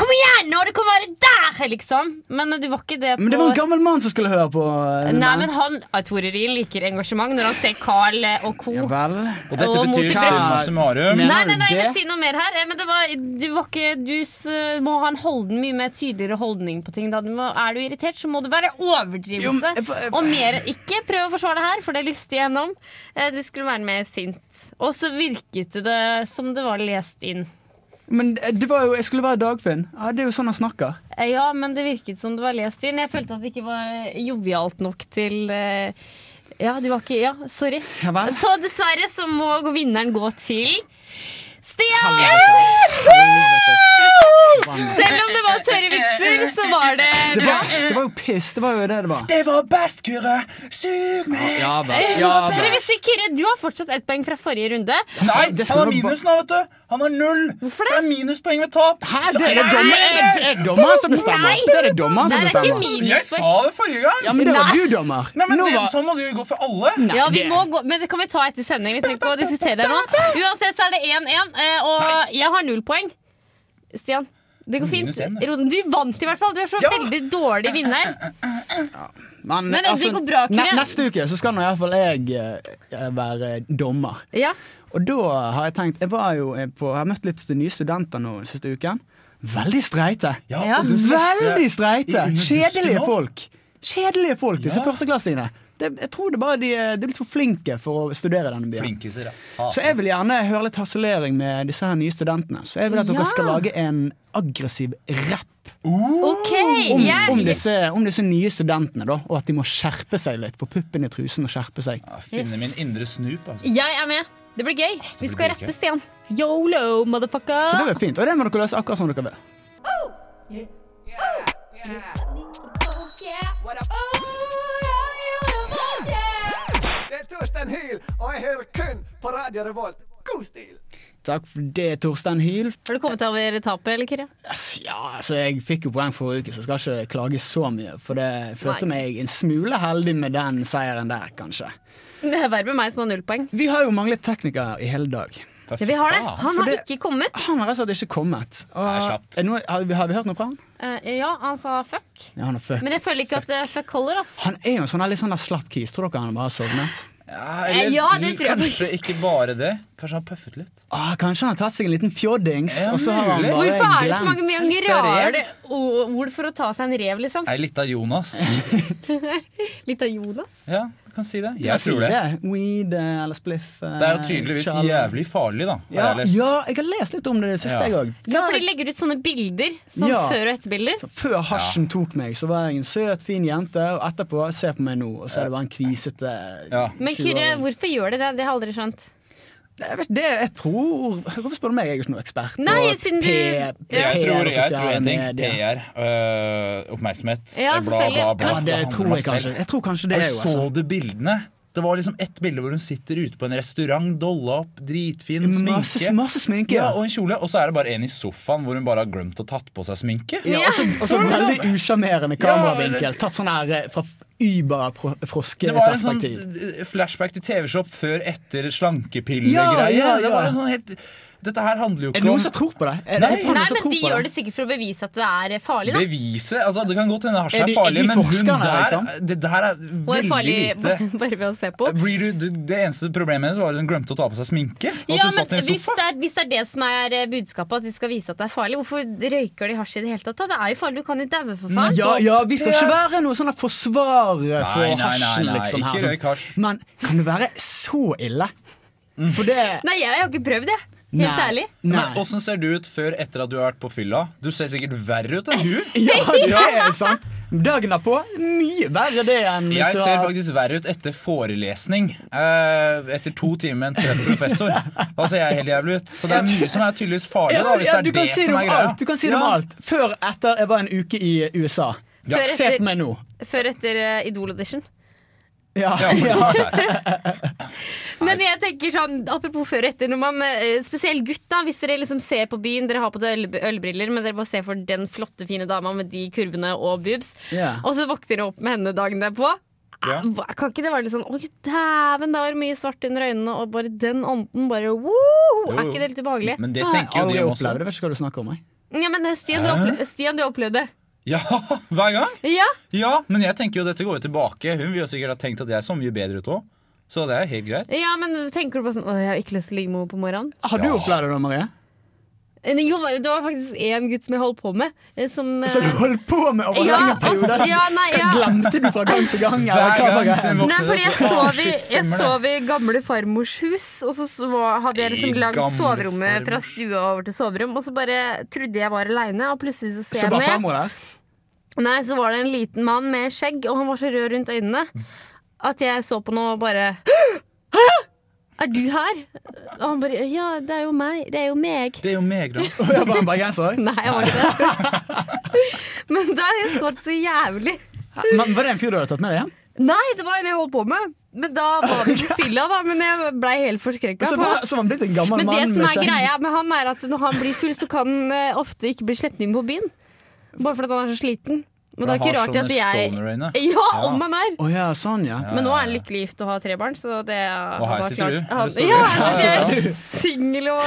Speaker 6: Kom igjen! Og det kan være der! Liksom. Men eh, du var ikke det på
Speaker 3: Men det var en gammel mann som skulle høre på. eh,
Speaker 6: Nei, men han, ah, Tore Rien liker engasjement når han ser Carl eh, og co.
Speaker 3: Ja vel.
Speaker 4: Og dette
Speaker 6: Og mot
Speaker 4: betyr
Speaker 6: i
Speaker 4: summa
Speaker 3: press.
Speaker 4: summarum.
Speaker 3: Mener
Speaker 6: Nei, nei,
Speaker 3: du
Speaker 6: nei, jeg
Speaker 3: det?
Speaker 6: vil si noe mer her. eh, Men det var, du, var ikke, du s- eh, må ha en holden, mye mer tydeligere holdning på ting. Da. Du må, er du irritert, så må det være overdrivelse.
Speaker 3: Jo, men eh, jeg får- jeg-
Speaker 6: Og mer Ikke prøv å forsvare det her, for det lyste jeg gjennom. Eh, Du skulle være mer sint. Og så virket det som det var lest inn.
Speaker 3: Men eh, det var jo, jeg skulle være Dagfinn. Ja, det er jo sånn han snakker.
Speaker 6: Eh, Ja, men det virket som det var lest inn. Jeg følte at det ikke var jovialt nok til eh, Ja, du var ikke Ja, sorry.
Speaker 3: Ja vel.
Speaker 6: Så dessverre så må vinneren gå til Stian! Selv om det var tørre vitser, så var det
Speaker 3: Det
Speaker 6: bra.
Speaker 3: var, det var jo piss. Det var jo det det var.
Speaker 4: Det var best, Kyrre! Sug meg!
Speaker 3: Ja vel. Ja
Speaker 6: Men hvis ikke, Kyrre, du har fortsatt ett poeng fra forrige runde.
Speaker 4: Nei,
Speaker 3: det
Speaker 4: han
Speaker 3: skulle
Speaker 4: har
Speaker 3: ba-
Speaker 4: minus nå, vet du. Han har null.
Speaker 6: Hvorfor
Speaker 4: det
Speaker 6: det?
Speaker 4: er minuspoeng ved tap.
Speaker 3: Hæ,
Speaker 4: Så-
Speaker 3: det er det
Speaker 4: Nei!
Speaker 3: dommeren det er dommeren som
Speaker 6: Nei!
Speaker 3: bestemmer. Det er det dommeren som
Speaker 6: Nei, det er ikke
Speaker 3: bestemmer.
Speaker 4: Jeg
Speaker 6: minuspoeng.
Speaker 4: sa det forrige gang.
Speaker 3: Ja, men det var du, dommer.
Speaker 4: Nei, men
Speaker 3: Nå
Speaker 4: det,
Speaker 3: var-
Speaker 4: Sånn må det jo gå for alle.
Speaker 6: Ja, vi
Speaker 3: det-
Speaker 6: må gå, men det kan vi ta etter sending. Vi trenger ikke å diskutere det nå. Uansett så er det 1-1, eh, og jeg har null poeng. Stian, Det går fint.
Speaker 4: Minus en, da.
Speaker 6: Ron, du vant i hvert fall. Du er så veldig dårlig vinner.
Speaker 3: Men, altså,
Speaker 6: Men det går bra, Kyrre.
Speaker 3: ne- neste uke så skal nå iallfall jeg eh, være dommer.
Speaker 6: Ja.
Speaker 3: Og da har jeg tenkt Jeg var jo på, jeg har møtt litt nye studenter nå siste uken. Veldig streite.
Speaker 4: Ja,
Speaker 6: Ja.
Speaker 4: og du fleste-
Speaker 3: Veldig
Speaker 4: i
Speaker 3: streite!
Speaker 4: underbrusen
Speaker 3: Kjedelige
Speaker 4: nå.
Speaker 3: folk. Kjedelige folk, disse
Speaker 4: Ja.
Speaker 3: førsteklassingene. Det, jeg tror det bare de, er- de er litt for flinke for å studere i denne byen.
Speaker 4: Flinkiser, ass. Ha.
Speaker 3: Så jeg vil gjerne høre litt harselering med disse her nye studentene. Så jeg vil at dere
Speaker 6: Ja.
Speaker 3: skal lage en aggressiv rapp
Speaker 6: OK,
Speaker 3: om, om,
Speaker 6: jeg
Speaker 3: disse, om disse nye studentene, da. Og at de må skjerpe seg litt. Få puppen i trusen og skjerpe seg.
Speaker 4: Ja, Finne min indre snup, altså.
Speaker 6: Jeg er med. Det blir gøy. Vi
Speaker 4: blir
Speaker 6: skal
Speaker 4: dritgøy.
Speaker 6: rappe, Stian.
Speaker 3: Så
Speaker 6: Yolo,
Speaker 3: det
Speaker 6: motherfucker.
Speaker 3: blir fint. Og det må dere løse akkurat som dere vil.
Speaker 11: Det er Torstein Hyl, og jeg hører kun på Radio Revolt. God stil!
Speaker 3: Takk for det, Torstein Hyl.
Speaker 6: Har du kommet deg over tapet, eller, Kyrre?
Speaker 3: Ja, altså Jeg fikk jo poeng forrige uke, så jeg skal ikke klage så mye. For det jeg følte
Speaker 6: Nei.
Speaker 3: meg en smule heldig med den seieren der, kanskje.
Speaker 6: Det er verre med meg som har null poeng.
Speaker 3: Vi har jo manglet teknikere i hele dag.
Speaker 6: Ja, vi har det. Han
Speaker 3: For
Speaker 6: har
Speaker 3: det-
Speaker 6: ikke kommet.
Speaker 3: Han har rett og slett ikke kommet. Og,
Speaker 4: Nei, slapt.
Speaker 3: er det noe, har, vi, har vi hørt noe fra han?
Speaker 6: Eh, ja, han sa fuck.
Speaker 3: Ja, han er fuck.
Speaker 6: Men jeg føler ikke at eh, fuck holder, ass.
Speaker 3: Han er jo en sånn her litt sånn der slapp kis. Tror dere han bare har sovnet?
Speaker 4: Ja, eller,
Speaker 6: Ja, det tror jeg
Speaker 4: Kanskje ikke bare det. Kanskje han har puffet litt.
Speaker 3: Ah, kanskje han har tatt seg en liten fjoddings,
Speaker 4: Ja,
Speaker 3: og så har han
Speaker 4: mulig.
Speaker 3: bare
Speaker 6: Hvorfor er det så
Speaker 3: glemt.
Speaker 6: mange mange rare o- ord for å ta seg en rev, liksom?
Speaker 4: Ei lita Jonas.
Speaker 6: Litt av Jonas.
Speaker 4: Ja, du kan si det. Jeg,
Speaker 3: Jeg
Speaker 4: tror det.
Speaker 3: Weed eh, eller spliff. eh,
Speaker 4: Det er jo tydeligvis
Speaker 3: sjalom.
Speaker 4: jævlig farlig, da. har
Speaker 3: ja,
Speaker 4: jeg lest.
Speaker 3: ja, jeg har lest litt om det det siste,
Speaker 4: Ja.
Speaker 3: jeg òg.
Speaker 6: Ja, for de legger ut sånne bilder. Sånn
Speaker 3: Ja.
Speaker 6: før- og etterbilder.
Speaker 3: Før hasjen tok meg, så var jeg en søt, fin jente, og etterpå se på meg nå, og så er det bare en kvisete
Speaker 4: Ja.
Speaker 6: Men Kyrre,
Speaker 3: 20-åring.
Speaker 6: hvorfor gjør de det? Det har jeg aldri skjønt.
Speaker 3: Jeg vet ikke, det jeg tror Hvorfor spør du meg? Jeg er jo ikke noen ekspert på
Speaker 6: Nei, siden du-
Speaker 3: P-
Speaker 6: Ja.
Speaker 3: PR
Speaker 4: Jeg tror,
Speaker 3: og
Speaker 4: jeg tror
Speaker 3: sosiale
Speaker 4: en ting.
Speaker 3: medier.
Speaker 4: PR, øh, oppmerksomhet, bla,
Speaker 6: Ja,
Speaker 4: bla,
Speaker 6: selvfølgelig.
Speaker 4: bla.
Speaker 3: Ja, det
Speaker 4: handler om
Speaker 3: tror jeg
Speaker 4: oss selv.
Speaker 3: kanskje. Jeg tror kanskje det er
Speaker 4: jeg
Speaker 3: jo
Speaker 4: så
Speaker 3: altså.
Speaker 4: du bildene? Det var liksom ett bilde hvor hun sitter ute på en restaurant, dolla opp, dritfin,
Speaker 3: Masse,
Speaker 4: sminke.
Speaker 3: masse sminke.
Speaker 4: Ja, og en kjole. Og så er det bare en i sofaen hvor hun bare har glemt å tatt på seg sminke.
Speaker 3: Ja, og så- og så veldig usjarmerende
Speaker 4: altså- Ja,
Speaker 3: kameravinkel. Tatt sånn her eh, fra
Speaker 4: Det var en sånn
Speaker 3: Uber-froskeperspektiv.
Speaker 4: eh, flashback til TV-shop før etter
Speaker 3: Ja,
Speaker 4: slankepillegreie.
Speaker 3: ja,
Speaker 4: Det
Speaker 3: ja.
Speaker 4: var en sånn helt Dette her handler jo
Speaker 3: Er
Speaker 4: ikke
Speaker 3: det
Speaker 4: om
Speaker 3: noen som tror på det? Er det-
Speaker 4: Nei.
Speaker 3: jeg tror
Speaker 6: Nei,
Speaker 3: noen som
Speaker 6: men
Speaker 3: tror
Speaker 6: de
Speaker 3: på
Speaker 6: gjør det sikkert for å bevise at det er farlig, da.
Speaker 4: Beviset altså, Det kan godt hende hasj
Speaker 3: Er
Speaker 4: er
Speaker 3: de-
Speaker 4: farlig,
Speaker 3: er de
Speaker 4: men hun
Speaker 3: forskerne,
Speaker 4: der
Speaker 3: liksom?
Speaker 4: Det der er
Speaker 6: Og er
Speaker 4: veldig
Speaker 6: farlig
Speaker 4: lite
Speaker 6: bare ved å se på.
Speaker 4: blir du, du, Det eneste problemet hennes var at hun glemte å ta på seg sminke. Og at
Speaker 6: Ja,
Speaker 4: hun
Speaker 6: men
Speaker 4: satt i en
Speaker 6: hvis
Speaker 4: sofa.
Speaker 6: det, er, hvis det er det som er eh, budskapet, at de skal vise at det er farlig, hvorfor røyker de hasj i det hele tatt? da? Det er jo farlig, du kan jo daue, for faen.
Speaker 3: Ja, ja, vi skal ikke være noe sånn forsvarere for
Speaker 4: Nei, nei, nei,
Speaker 3: hasjen,
Speaker 4: nei,
Speaker 3: liksom.
Speaker 4: ikke
Speaker 3: her, sånn.
Speaker 4: røyk hasj.
Speaker 3: Men kan det være så ille? For det
Speaker 6: Nei, jeg har ikke prøvd det. Helt
Speaker 3: Nei.
Speaker 6: ærlig.
Speaker 4: Men
Speaker 3: Nei.
Speaker 4: Åssen ser du ut før etter at du har vært på fylla? Du ser sikkert verre ut enn hun.
Speaker 3: Ja, det er sant. Dagen derpå mye verre det enn hvis
Speaker 4: Jeg
Speaker 3: du
Speaker 4: ser
Speaker 3: har-
Speaker 4: faktisk verre ut etter forelesning. Eh, etter to timer med en trøtt professor. Da ser jeg helt jævlig ut. Så det er mye som er tydeligvis farlig.
Speaker 3: ja,
Speaker 4: Da, hvis det
Speaker 3: ja,
Speaker 4: er
Speaker 3: du kan
Speaker 4: det
Speaker 3: si det
Speaker 4: som
Speaker 3: om
Speaker 4: er greia.
Speaker 3: alt. Du kan si det om
Speaker 4: Ja.
Speaker 3: alt. Før etter jeg var en uke i USA.
Speaker 6: Før
Speaker 3: Se på
Speaker 6: etter,
Speaker 3: meg nå.
Speaker 6: før etter eh, Idol Edition.
Speaker 3: Ja.
Speaker 4: Ja, men
Speaker 3: Ja.
Speaker 4: klart det.
Speaker 6: Men jeg tenker sånn, apropos før og etter når man, eh, Spesielt gutta, hvis dere liksom ser på byen Dere har på dere øl ølbriller, men dere bare ser for den flotte, fine dama med de kurvene og boobs.
Speaker 3: Ja.
Speaker 6: Og så våkner dere opp med henne dagen derpå. Ah,
Speaker 4: Ja.
Speaker 6: Hva- Kan ikke det være litt sånn Oi, dæven, da var det mye svart under øynene, og bare den ånden bare woo, Er
Speaker 4: Jo, jo.
Speaker 6: ikke det litt ubehagelig?
Speaker 4: Men det
Speaker 3: Nei,
Speaker 4: tenker jo
Speaker 3: aldri
Speaker 4: de om
Speaker 3: opplevd
Speaker 4: også.
Speaker 3: det. Vet ikke hva du snakker om. Jeg.
Speaker 6: Ja, men eh, Stian, du, opple Stian, du opplevde det.
Speaker 4: Ja, hver gang.
Speaker 6: Ja,
Speaker 4: Ja, men jeg tenker jo dette går jo tilbake. Hun vil jo sikkert ha tenkt at jeg så mye bedre ut òg. Så det er helt greit.
Speaker 6: ja, men tenker du bare sånn Å, jeg har ikke lyst til å ligge med henne på morgenen?
Speaker 3: Har du
Speaker 4: Ja.
Speaker 3: opplevd det, da, Marie?
Speaker 6: Eh, Jo, det var faktisk én gutt som jeg holdt på med, eh, som eh,
Speaker 4: Altså,
Speaker 3: Så du holdt på med over
Speaker 6: ja,
Speaker 3: lange perioder?
Speaker 6: altså, ja, nei, ja.
Speaker 3: Glemte du fra gang til gang? eller
Speaker 4: Hver
Speaker 3: hva var
Speaker 4: gang
Speaker 3: greia?
Speaker 4: som
Speaker 6: Nei, fordi jeg sov, i,
Speaker 4: Shit,
Speaker 6: jeg
Speaker 4: stemmer det.
Speaker 6: sov i gamle farmors hus, og så sov- hadde jeg liksom
Speaker 4: I
Speaker 6: lagd
Speaker 4: gamle
Speaker 6: soverommet fra
Speaker 4: farmors.
Speaker 6: stua over til soverom, og så bare trodde jeg var aleine, og plutselig så ser
Speaker 3: Så bare
Speaker 6: jeg ned.
Speaker 3: farmor der?
Speaker 6: Nei, så var det en liten mann med skjegg, og han var så rød rundt øynene at jeg så på noe og bare Hæ? Er du her? Og han bare Ja, det er jo meg. Det er jo meg.
Speaker 4: Det er jo meg, da.
Speaker 3: Og jeg bare en bergenser?
Speaker 6: Nei, jeg var ikke det. Men da har jeg skvatt så jævlig.
Speaker 3: Men Var det en fyr du hadde tatt med deg hjem?
Speaker 6: Nei, det var en jeg holdt på med. Men da var vi på fylla, da. Men jeg blei helt forskrekka.
Speaker 3: Så var så var han blitt en gammel
Speaker 6: Men det
Speaker 3: mann
Speaker 6: som
Speaker 3: med
Speaker 6: er
Speaker 3: skjegg.
Speaker 6: greia med han, er at når han blir full, så kan han eh, ofte ikke bli sluppet inn på byen. Bare fordi han er så sliten. Men det er ikke rart at jeg Ja, om han er!
Speaker 3: Å ja, sånn, ja.
Speaker 6: Men nå er han lykkelig gift og har tre barn, så det er
Speaker 4: Og her
Speaker 6: bare
Speaker 4: sitter du.
Speaker 6: klart.
Speaker 4: Her
Speaker 6: Han,
Speaker 4: står du.
Speaker 6: ja, her sitter jeg singel og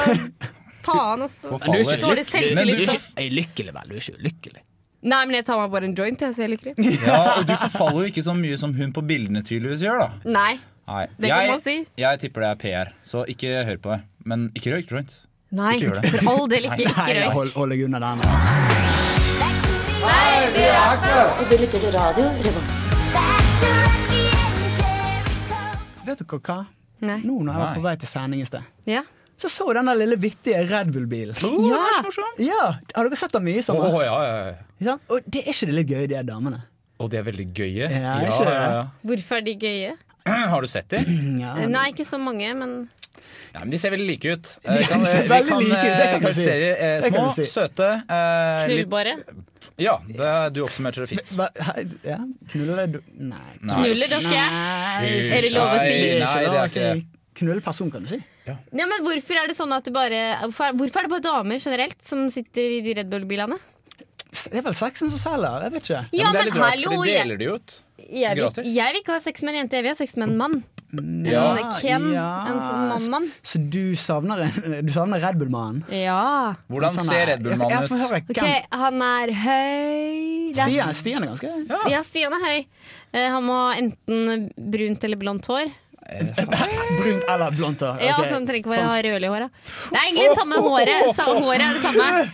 Speaker 6: Faen, altså.
Speaker 3: Men du er ikke
Speaker 6: Dårlig
Speaker 3: lykkelig. Men du er
Speaker 6: selvtillit. ass.
Speaker 3: ikke jeg er lykkelig, vel? Du er ikke ulykkelig.
Speaker 6: Nei, men jeg tar meg bare en joint, jeg, så jeg er lykkelig.
Speaker 4: Ja, og du forfaller jo ikke så mye som hun på bildene tydeligvis gjør, da.
Speaker 6: Nei.
Speaker 4: Nei.
Speaker 6: Det kan man si.
Speaker 4: jeg tipper det er PR, så ikke hør på det. Men ikke røyk joint.
Speaker 6: Nei,
Speaker 4: Ikke gjør det.
Speaker 6: for all del ikke.
Speaker 3: Nei,
Speaker 6: Ikke
Speaker 3: jeg
Speaker 6: røyk.
Speaker 3: hold, hold deg unna den.
Speaker 12: Og du lytter til radio Revolt.
Speaker 3: Vet dere hva?
Speaker 6: Nei.
Speaker 3: Nå når jeg var
Speaker 6: Nei.
Speaker 3: på vei til sending i sted,
Speaker 6: Ja.
Speaker 3: så så jeg den der lille vittige Red Bull-bilen.
Speaker 6: Ja.
Speaker 3: ja! Har dere sett den mye i sommer?
Speaker 13: Å, ja, ja, ja.
Speaker 3: Ikke sant? Og det er ikke det litt gøy, de her damene?
Speaker 13: Og de er veldig gøye.
Speaker 3: Ja, ikke det?
Speaker 6: Hvorfor er de gøye? Eh,
Speaker 13: Har du sett dem?
Speaker 6: Nei, ikke så mange, men
Speaker 13: Ja, men de ser veldig like ut.
Speaker 4: De
Speaker 13: Eh, kan,
Speaker 4: ser
Speaker 13: eh,
Speaker 4: veldig like ut, det
Speaker 13: eh,
Speaker 4: kan du si.
Speaker 13: karakterisere, eh,
Speaker 4: Det kan
Speaker 13: små,
Speaker 4: du si.
Speaker 13: søte eh, litt-
Speaker 6: knullbare.
Speaker 13: Ja, det, du oppsummerte det fint.
Speaker 3: Hva, hei, ja, knuller du Nei.
Speaker 13: Nei.
Speaker 6: Knuller dere?
Speaker 3: Nei.
Speaker 6: Er det lov å si?
Speaker 13: Nei, nei, det er
Speaker 3: lov å si.
Speaker 13: ikke det.
Speaker 3: Knull person, kan du si.
Speaker 6: Ja, men hvorfor er det sånn at det bare Hvorfor er, hvorfor er det bare damer generelt som sitter i de Red Bull-bilene?
Speaker 3: Det er vel sexen som selger, jeg vet ikke.
Speaker 6: Ja, men hallo,
Speaker 13: for de
Speaker 6: jeg-
Speaker 13: deler det jo ut.
Speaker 6: Jeg vil,
Speaker 13: Gratis.
Speaker 6: jeg vil ikke ha sex med en jente, jeg vil ha sex med en mann. Mm,
Speaker 3: Ja.
Speaker 6: En Ken. En sånn mann-mann.
Speaker 3: Så du savner, en- du savner Red Bull-mannen?
Speaker 6: Ja.
Speaker 4: Hvordan
Speaker 3: Sånn
Speaker 4: ser
Speaker 3: er-
Speaker 4: Red Bull-mannen
Speaker 3: Jeg- jeg får høre
Speaker 6: Ok,
Speaker 3: hvem-
Speaker 6: han er høy Det
Speaker 3: Stian- Stian er ganske-
Speaker 6: ja. Stian er høy. Eh, han må ha enten brunt eller blondt hår.
Speaker 3: Brunt eller blondt hår.
Speaker 6: Ja,
Speaker 3: ok.
Speaker 6: så han trenger ikke bare
Speaker 3: Sånn-
Speaker 6: ha rødlig hår. da. Det er egentlig samme håret. Sa håret er det samme.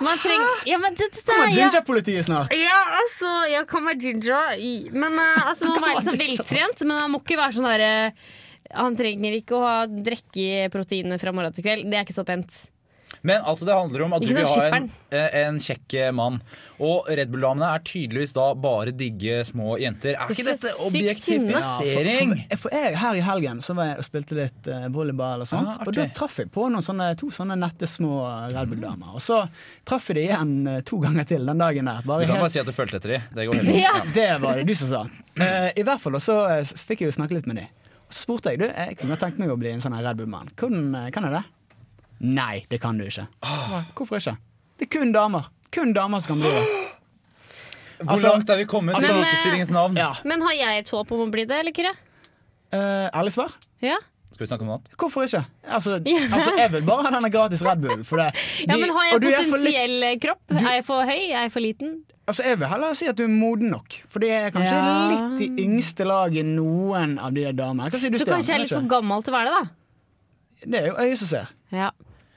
Speaker 6: Man trenger Ja, men det, det, det,
Speaker 3: Kommer
Speaker 6: ja.
Speaker 3: ginger-politiet snart?
Speaker 6: Ja, altså, jeg kan være ginger, i- men eh, altså, man må være litt sånn veltrent. Men han må ikke være sånn derre Han trenger ikke å ha drikke proteinene fra morgen til kveld. Det er ikke så pent.
Speaker 4: Men altså det handler om at du
Speaker 6: Ikke
Speaker 4: vil
Speaker 6: sånn
Speaker 4: ha en, eh, en kjekk eh, mann. Og Red Bull-damene er tydeligvis da bare digge små jenter. Er ikke dette objektifisering?
Speaker 3: Ja, for, for, for jeg, her i helgen så var jeg og spilte litt eh, volleyball og sånt.
Speaker 4: Ah,
Speaker 3: og da traff jeg på noen sånne, to sånne nette små Red Bull-damer. Og så traff jeg dem igjen eh, to ganger til den dagen der.
Speaker 13: Du
Speaker 3: Bare
Speaker 13: kan
Speaker 3: helt-
Speaker 13: bare si at du fulgte etter dem. Det går helt
Speaker 3: Ja. Det var det du som sa. Eh, I hvert fall, og så eh, s- fikk jeg jo snakke litt med de. Og så spurte jeg du, eh, jeg kunne godt tenkt meg å bli en sånn her Red Bull-mann. Kan, eh, kan jeg det? Nei, det kan du ikke. Hvorfor ikke? Det er kun damer. Kun damer som kan bli det.
Speaker 4: Hvor langt er vi kommet i
Speaker 6: eh,
Speaker 4: likestillingens navn?
Speaker 3: Altså- Ja.
Speaker 6: Men har jeg et håp om å bli det, eller ikke?
Speaker 3: Eh, ærlig svar?
Speaker 6: Ja.
Speaker 4: Skal vi snakke om noe annet?
Speaker 3: Hvorfor ikke? Altså, altså, jeg vil bare ha denne gratis Red Bullen. For det.
Speaker 6: Ja,
Speaker 3: De-
Speaker 6: men har jeg
Speaker 3: og du er for litt-
Speaker 6: potensiell kropp? Er jeg for høy? Er jeg for liten?
Speaker 3: altså, jeg vil heller si at du er moden nok. For det er kanskje
Speaker 6: Ja.
Speaker 3: litt i yngste laget noen av de damene. Hva sier du,
Speaker 6: Så
Speaker 3: Stian?
Speaker 6: kanskje jeg er litt
Speaker 3: vet
Speaker 6: for
Speaker 3: ikke.
Speaker 6: gammel til å være det, da.
Speaker 3: Det er jo øyet som ser.
Speaker 6: Ja.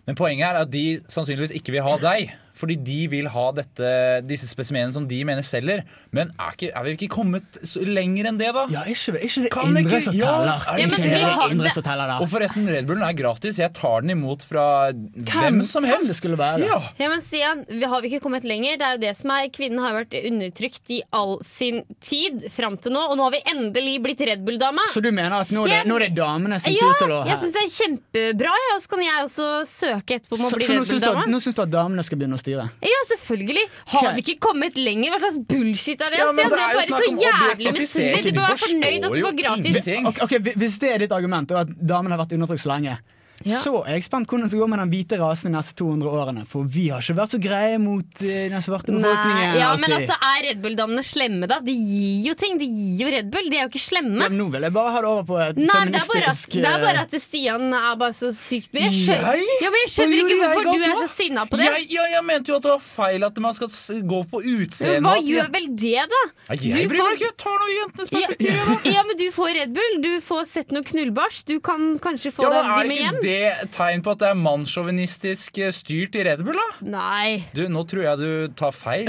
Speaker 4: Men poenget er at de sannsynligvis ikke vil ha deg. Fordi de vil ha dette, disse spesimenene som de mener selger. Men er, ikke, er vi ikke kommet så lenger enn det, da?
Speaker 3: Ja, ikke, det
Speaker 4: kan
Speaker 3: indre som teller?
Speaker 4: er
Speaker 3: Ja,
Speaker 4: det
Speaker 3: men
Speaker 4: ikke
Speaker 3: vi
Speaker 4: det?
Speaker 3: har- Indre som teller, da.
Speaker 4: Og forresten, Red Bullen er gratis. Jeg tar den imot fra hvem, som helst.
Speaker 3: det skulle være.
Speaker 4: Ja.
Speaker 6: Ja, men Stian, vi har vi ikke kommet lenger? Det er jo det som er Kvinnen har vært undertrykt i all sin tid fram til nå, og nå har vi endelig blitt Red Bull-dama.
Speaker 3: Så du mener at nå er det,
Speaker 6: Jeg-
Speaker 3: nå er det damene sin
Speaker 6: Ja,
Speaker 3: tur til å
Speaker 6: jeg syns det er kjempebra, jeg. Og så kan jeg også søke etterpå om å
Speaker 3: Så,
Speaker 6: bli
Speaker 3: så nå
Speaker 6: Red
Speaker 3: syns du, at-
Speaker 6: Bull-dama.
Speaker 3: nå syns du at damene skal begynne å styre?
Speaker 6: Ja, selvfølgelig. Har vi ikke kommet lenger? Hva slags bullshit er det?
Speaker 3: Ja, men det
Speaker 6: Stian, du
Speaker 3: er
Speaker 6: er
Speaker 3: jo
Speaker 6: bare
Speaker 3: snakk
Speaker 6: så
Speaker 3: om
Speaker 6: jævlig
Speaker 3: objektifisering.
Speaker 6: misunnelig. Du bør være fornøyd at du får gratis.
Speaker 3: Ok, ok, hvi- Hvis det er ditt argument, og at damene har vært undertrykt så lenge,
Speaker 6: Ja.
Speaker 3: så er jeg spent hvordan det skal gå med den hvite rasen de neste 200 årene. For vi har ikke vært så greie mot eh, den svarte befolkningen.
Speaker 6: Nei, ja, men
Speaker 3: alltid.
Speaker 6: altså, Er Red Bull-damene slemme, da? De gir jo ting. De gir jo Red Bull. De er jo ikke slemme.
Speaker 3: Ja, men nå vil jeg bare ha det over på et
Speaker 6: Nei, det er, bare at,
Speaker 3: feministisk
Speaker 6: det er bare
Speaker 3: eh,
Speaker 6: at Stian er bare så sykt Men jeg skjønner,
Speaker 4: Jeg?
Speaker 6: ja, men jeg
Speaker 4: Hva
Speaker 6: skjønner
Speaker 4: gjorde
Speaker 6: ikke
Speaker 4: jeg
Speaker 6: hvorfor
Speaker 4: galt
Speaker 6: du
Speaker 4: nå?
Speaker 6: er så sinna på det.
Speaker 4: Jeg, ja, jeg mente jo at det var feil at man skal s- gå på utseendet.
Speaker 6: Hva
Speaker 4: og at-
Speaker 6: gjør vel det, da?
Speaker 4: Nei, jeg bryr meg ikke. Jeg tar noe jentenes perspektiv.
Speaker 6: Ja, ja, men du får Red Bull. Du får sett noe knullbars. Du kan kanskje få
Speaker 4: Ja, men
Speaker 6: deg
Speaker 4: Er
Speaker 6: de med hjem.
Speaker 4: ikke det tegn på at det er mannssjåvinistisk eh, styrt i Red Bull, da?
Speaker 6: Nei.
Speaker 4: Du, nå tror jeg du tar feil.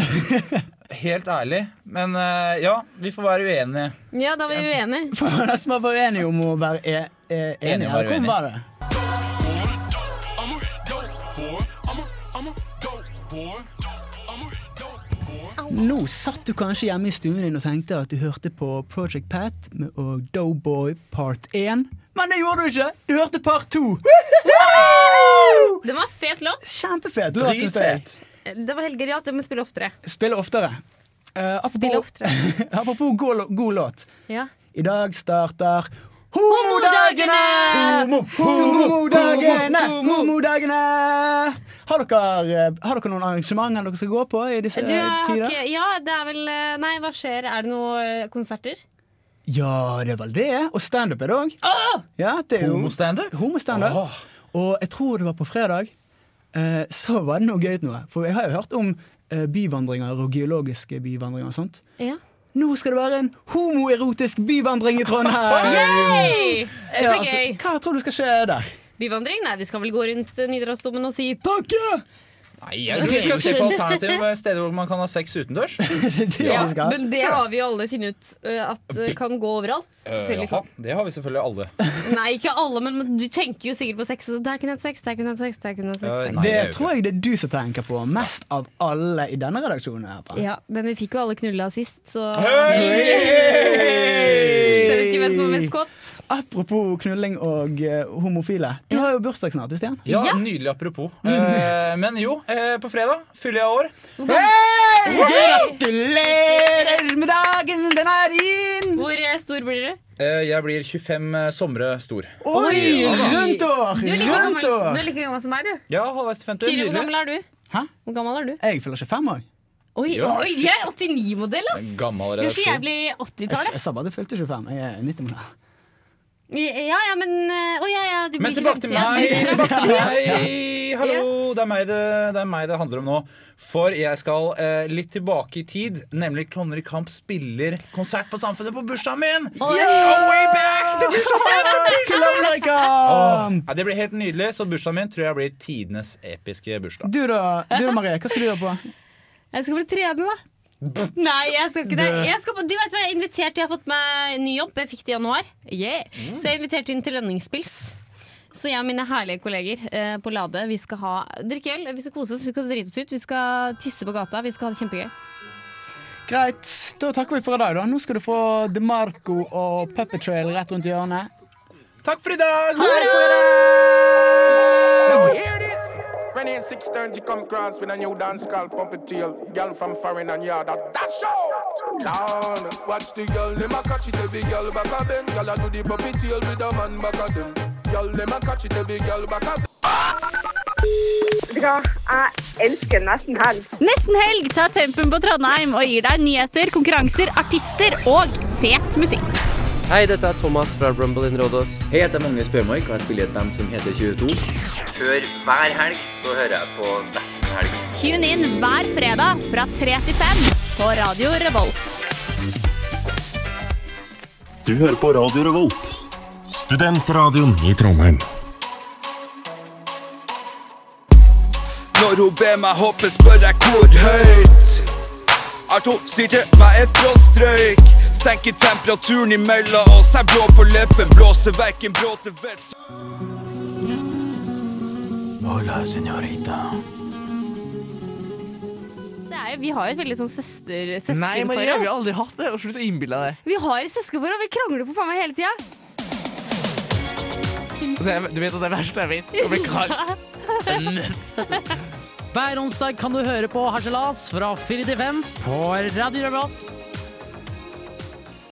Speaker 4: Helt ærlig. Men eh, ja, vi får være uenige.
Speaker 6: Ja, da var vi uenige.
Speaker 3: For nesten var bare enige om å være e e enige.
Speaker 4: Enige var
Speaker 3: Eller Hvordan
Speaker 4: uenige.
Speaker 3: var det? Nå satt du kanskje hjemme i stuen din og tenkte at du hørte på Project Pat med og Doughboy part 1. Men det gjorde du ikke! Du hørte part 2.
Speaker 6: Det var en fet låt.
Speaker 3: Kjempefet låt, synes jeg.
Speaker 6: Det var helt gøy at det må spille oftere.
Speaker 3: Spille oftere. Eh, apropos, apropos god, lå- god låt.
Speaker 6: Ja.
Speaker 3: I dag starter Homodagene!
Speaker 6: Homo,
Speaker 3: Homodagene!
Speaker 6: homo,
Speaker 3: Homodagene! Har dere, eh, har dere noen arrangementer dere skal gå på i disse
Speaker 6: Du,
Speaker 3: eh,
Speaker 6: jeg har
Speaker 3: tider?
Speaker 6: ikke, ja, det er vel eh, Nei, hva skjer? Er det noen eh, konserter?
Speaker 3: Ja, det er vel det. Og standup er det òg.
Speaker 6: Åh!
Speaker 3: Ja, det er jo-
Speaker 4: Homostandup?
Speaker 6: Ah.
Speaker 3: Homostandup. Og jeg tror det var på fredag. eh, så var det noe gøy ut noe. For jeg har jo hørt om eh, byvandringer og geologiske byvandringer og sånt.
Speaker 6: Ja.
Speaker 3: Nå skal det være en homoerotisk byvandring i Trondheim!
Speaker 6: Yay! Det
Speaker 3: Ja,
Speaker 6: blir
Speaker 3: altså,
Speaker 6: gøy.
Speaker 3: hva tror du skal skje der?
Speaker 6: Byvandring? Nei, vi skal vel gå rundt eh, Nidarosdomen og si
Speaker 3: takke!
Speaker 4: Nei, jeg tror Eh, vi skal se på alternative steder hvor man kan ha sex utendørs.
Speaker 6: Ja, men det har vi jo alle funnet ut eh, at eh, kan gå overalt.
Speaker 4: Eh,
Speaker 6: Selvfølgelig
Speaker 4: jaha, det har vi selvfølgelig alle.
Speaker 6: kan- Nei, ikke alle, men men du tenker jo sikkert på sex. og Så der kunne jeg hatt sex, der kunne jeg hatt sex, der kunne jeg hatt
Speaker 4: Eh,
Speaker 6: sex. der kunne jeg hatt
Speaker 3: det
Speaker 6: sex.
Speaker 3: tror jeg det er du som tenker på mest av alle i denne redaksjonen. her Pam.
Speaker 6: Ja, men vi fikk jo alle knulla sist, så
Speaker 3: Hei!
Speaker 6: Så jeg vet ikke hvem som har mest kåt.
Speaker 3: Apropos knulling og eh, homofile. Du har jo bursdag snart, du, Stian.
Speaker 4: Ja, Nydelig apropos.
Speaker 6: Mhm.
Speaker 4: Eh, men jo, eh, på fredag fyller jeg år.
Speaker 3: Hei! Gratulerer med dagen, den er din!
Speaker 6: Hvor eh, stor blir dere?
Speaker 4: Eh, jeg blir 25 eh, somre stor.
Speaker 3: Oi, rundt år!
Speaker 6: Du er like
Speaker 3: rundt
Speaker 6: gammel,
Speaker 3: år.
Speaker 6: du er like gammel som meg, du.
Speaker 4: Ja, halvveis til 50.
Speaker 6: Kiri, hvor
Speaker 4: Nydelig.
Speaker 6: gammel er du?
Speaker 3: Hæ?
Speaker 6: Hvor gammel er du?
Speaker 3: Jeg fyller 25 år.
Speaker 6: Oi,
Speaker 4: Ja,
Speaker 6: oi, jeg er 89-modell, ass!
Speaker 4: Gammel
Speaker 6: Kanskje jeg
Speaker 4: redaksjon.
Speaker 6: blir
Speaker 3: Jeg, s-
Speaker 6: 80-tallet?
Speaker 3: jeg sa bare du fylte 25. Jeg er 90 måneder.
Speaker 6: Ja, ja, men eh, Å ja, ja, du blir
Speaker 4: Men tilbake til
Speaker 6: 25, ja,
Speaker 4: meg!
Speaker 6: du blir
Speaker 4: Tilbake
Speaker 6: 25.
Speaker 4: til meg. Hallo! Det er meg det, det er meg det handler om nå. For jeg skal eh, litt tilbake i tid. Nemlig Klovner i kamp spiller konsert på Samfunnet på bursdagen min! Go way back! Det blir så fett!
Speaker 3: Klovner i
Speaker 4: Åh,
Speaker 3: kamp!
Speaker 4: nei, det blir helt nydelig, så bursdagen min tror jeg blir tidenes episke bursdag.
Speaker 3: Du da, du da, Marie. Hva skal du gjøre på?
Speaker 6: Jeg skal bli trener, da. Nei, jeg skal ikke det. Jeg skal på, du vet hva, jeg er invitert Jeg har fått meg ny jobb. Jeg fikk det i januar. Yeah. Så jeg er invitert inn til lønningspils. Så jeg og mine herlige kolleger eh, på Lade Vi skal ha, drikke øl, vi skal kose oss, vi skal drite oss ut, vi skal tisse på gata. Vi skal ha det kjempegøy.
Speaker 3: Greit, da takker vi for i dag. da Nå skal du få DeMarco og Pepper Trail rett rundt hjørnet.
Speaker 4: Takk for i dag!
Speaker 14: Now you hear this? When it's 6:30, she come cross with a new dance called Pumpetiel. Girl from foreign and yard that dash out. Down. Watch the girl, them a catch it every girl back a bend. Girl a do the Pumpetiel with a man back a them. Girl, them a catch it every girl back a
Speaker 15: Jeg elsker nesten helg.
Speaker 16: Nesten helg tar tempen på Trondheim og gir deg nyheter, konkurranser, artister og fet musikk.
Speaker 17: Hei, dette er Thomas fra Rumble in Rådås. Hei, jeg heter Magnus Bjørmark, og jeg spiller i et band som heter 22. Før hver helg så hører jeg på Nesten helg.
Speaker 16: Tune inn hver fredag fra 3 til 5 på Radio Revolt.
Speaker 18: Du hører på Radio Revolt, studentradioen i Trondheim.
Speaker 19: Når hun ber meg hoppe, spør jeg hvor høyt. Alt hun sier til meg, er frostrøyk. Senker temperaturen imellom oss. Jeg blå på leppen, blåser verken brå til vett.
Speaker 20: Hola, señorita.
Speaker 6: Det er, jo- vi har jo et veldig sånn søster,
Speaker 5: Nei, Marie, vi
Speaker 6: søskenforhold.
Speaker 5: har aldri hatt det. Og Slutt å innbille deg det.
Speaker 6: Vi har et søskenforhold, vi krangler for faen meg hele tida.
Speaker 5: Altså, jeg, du vet at det er verst jeg vet. Å bli kalt.
Speaker 2: Hver onsdag kan du høre på Harselas fra 4 til 5 på Radio Revolt.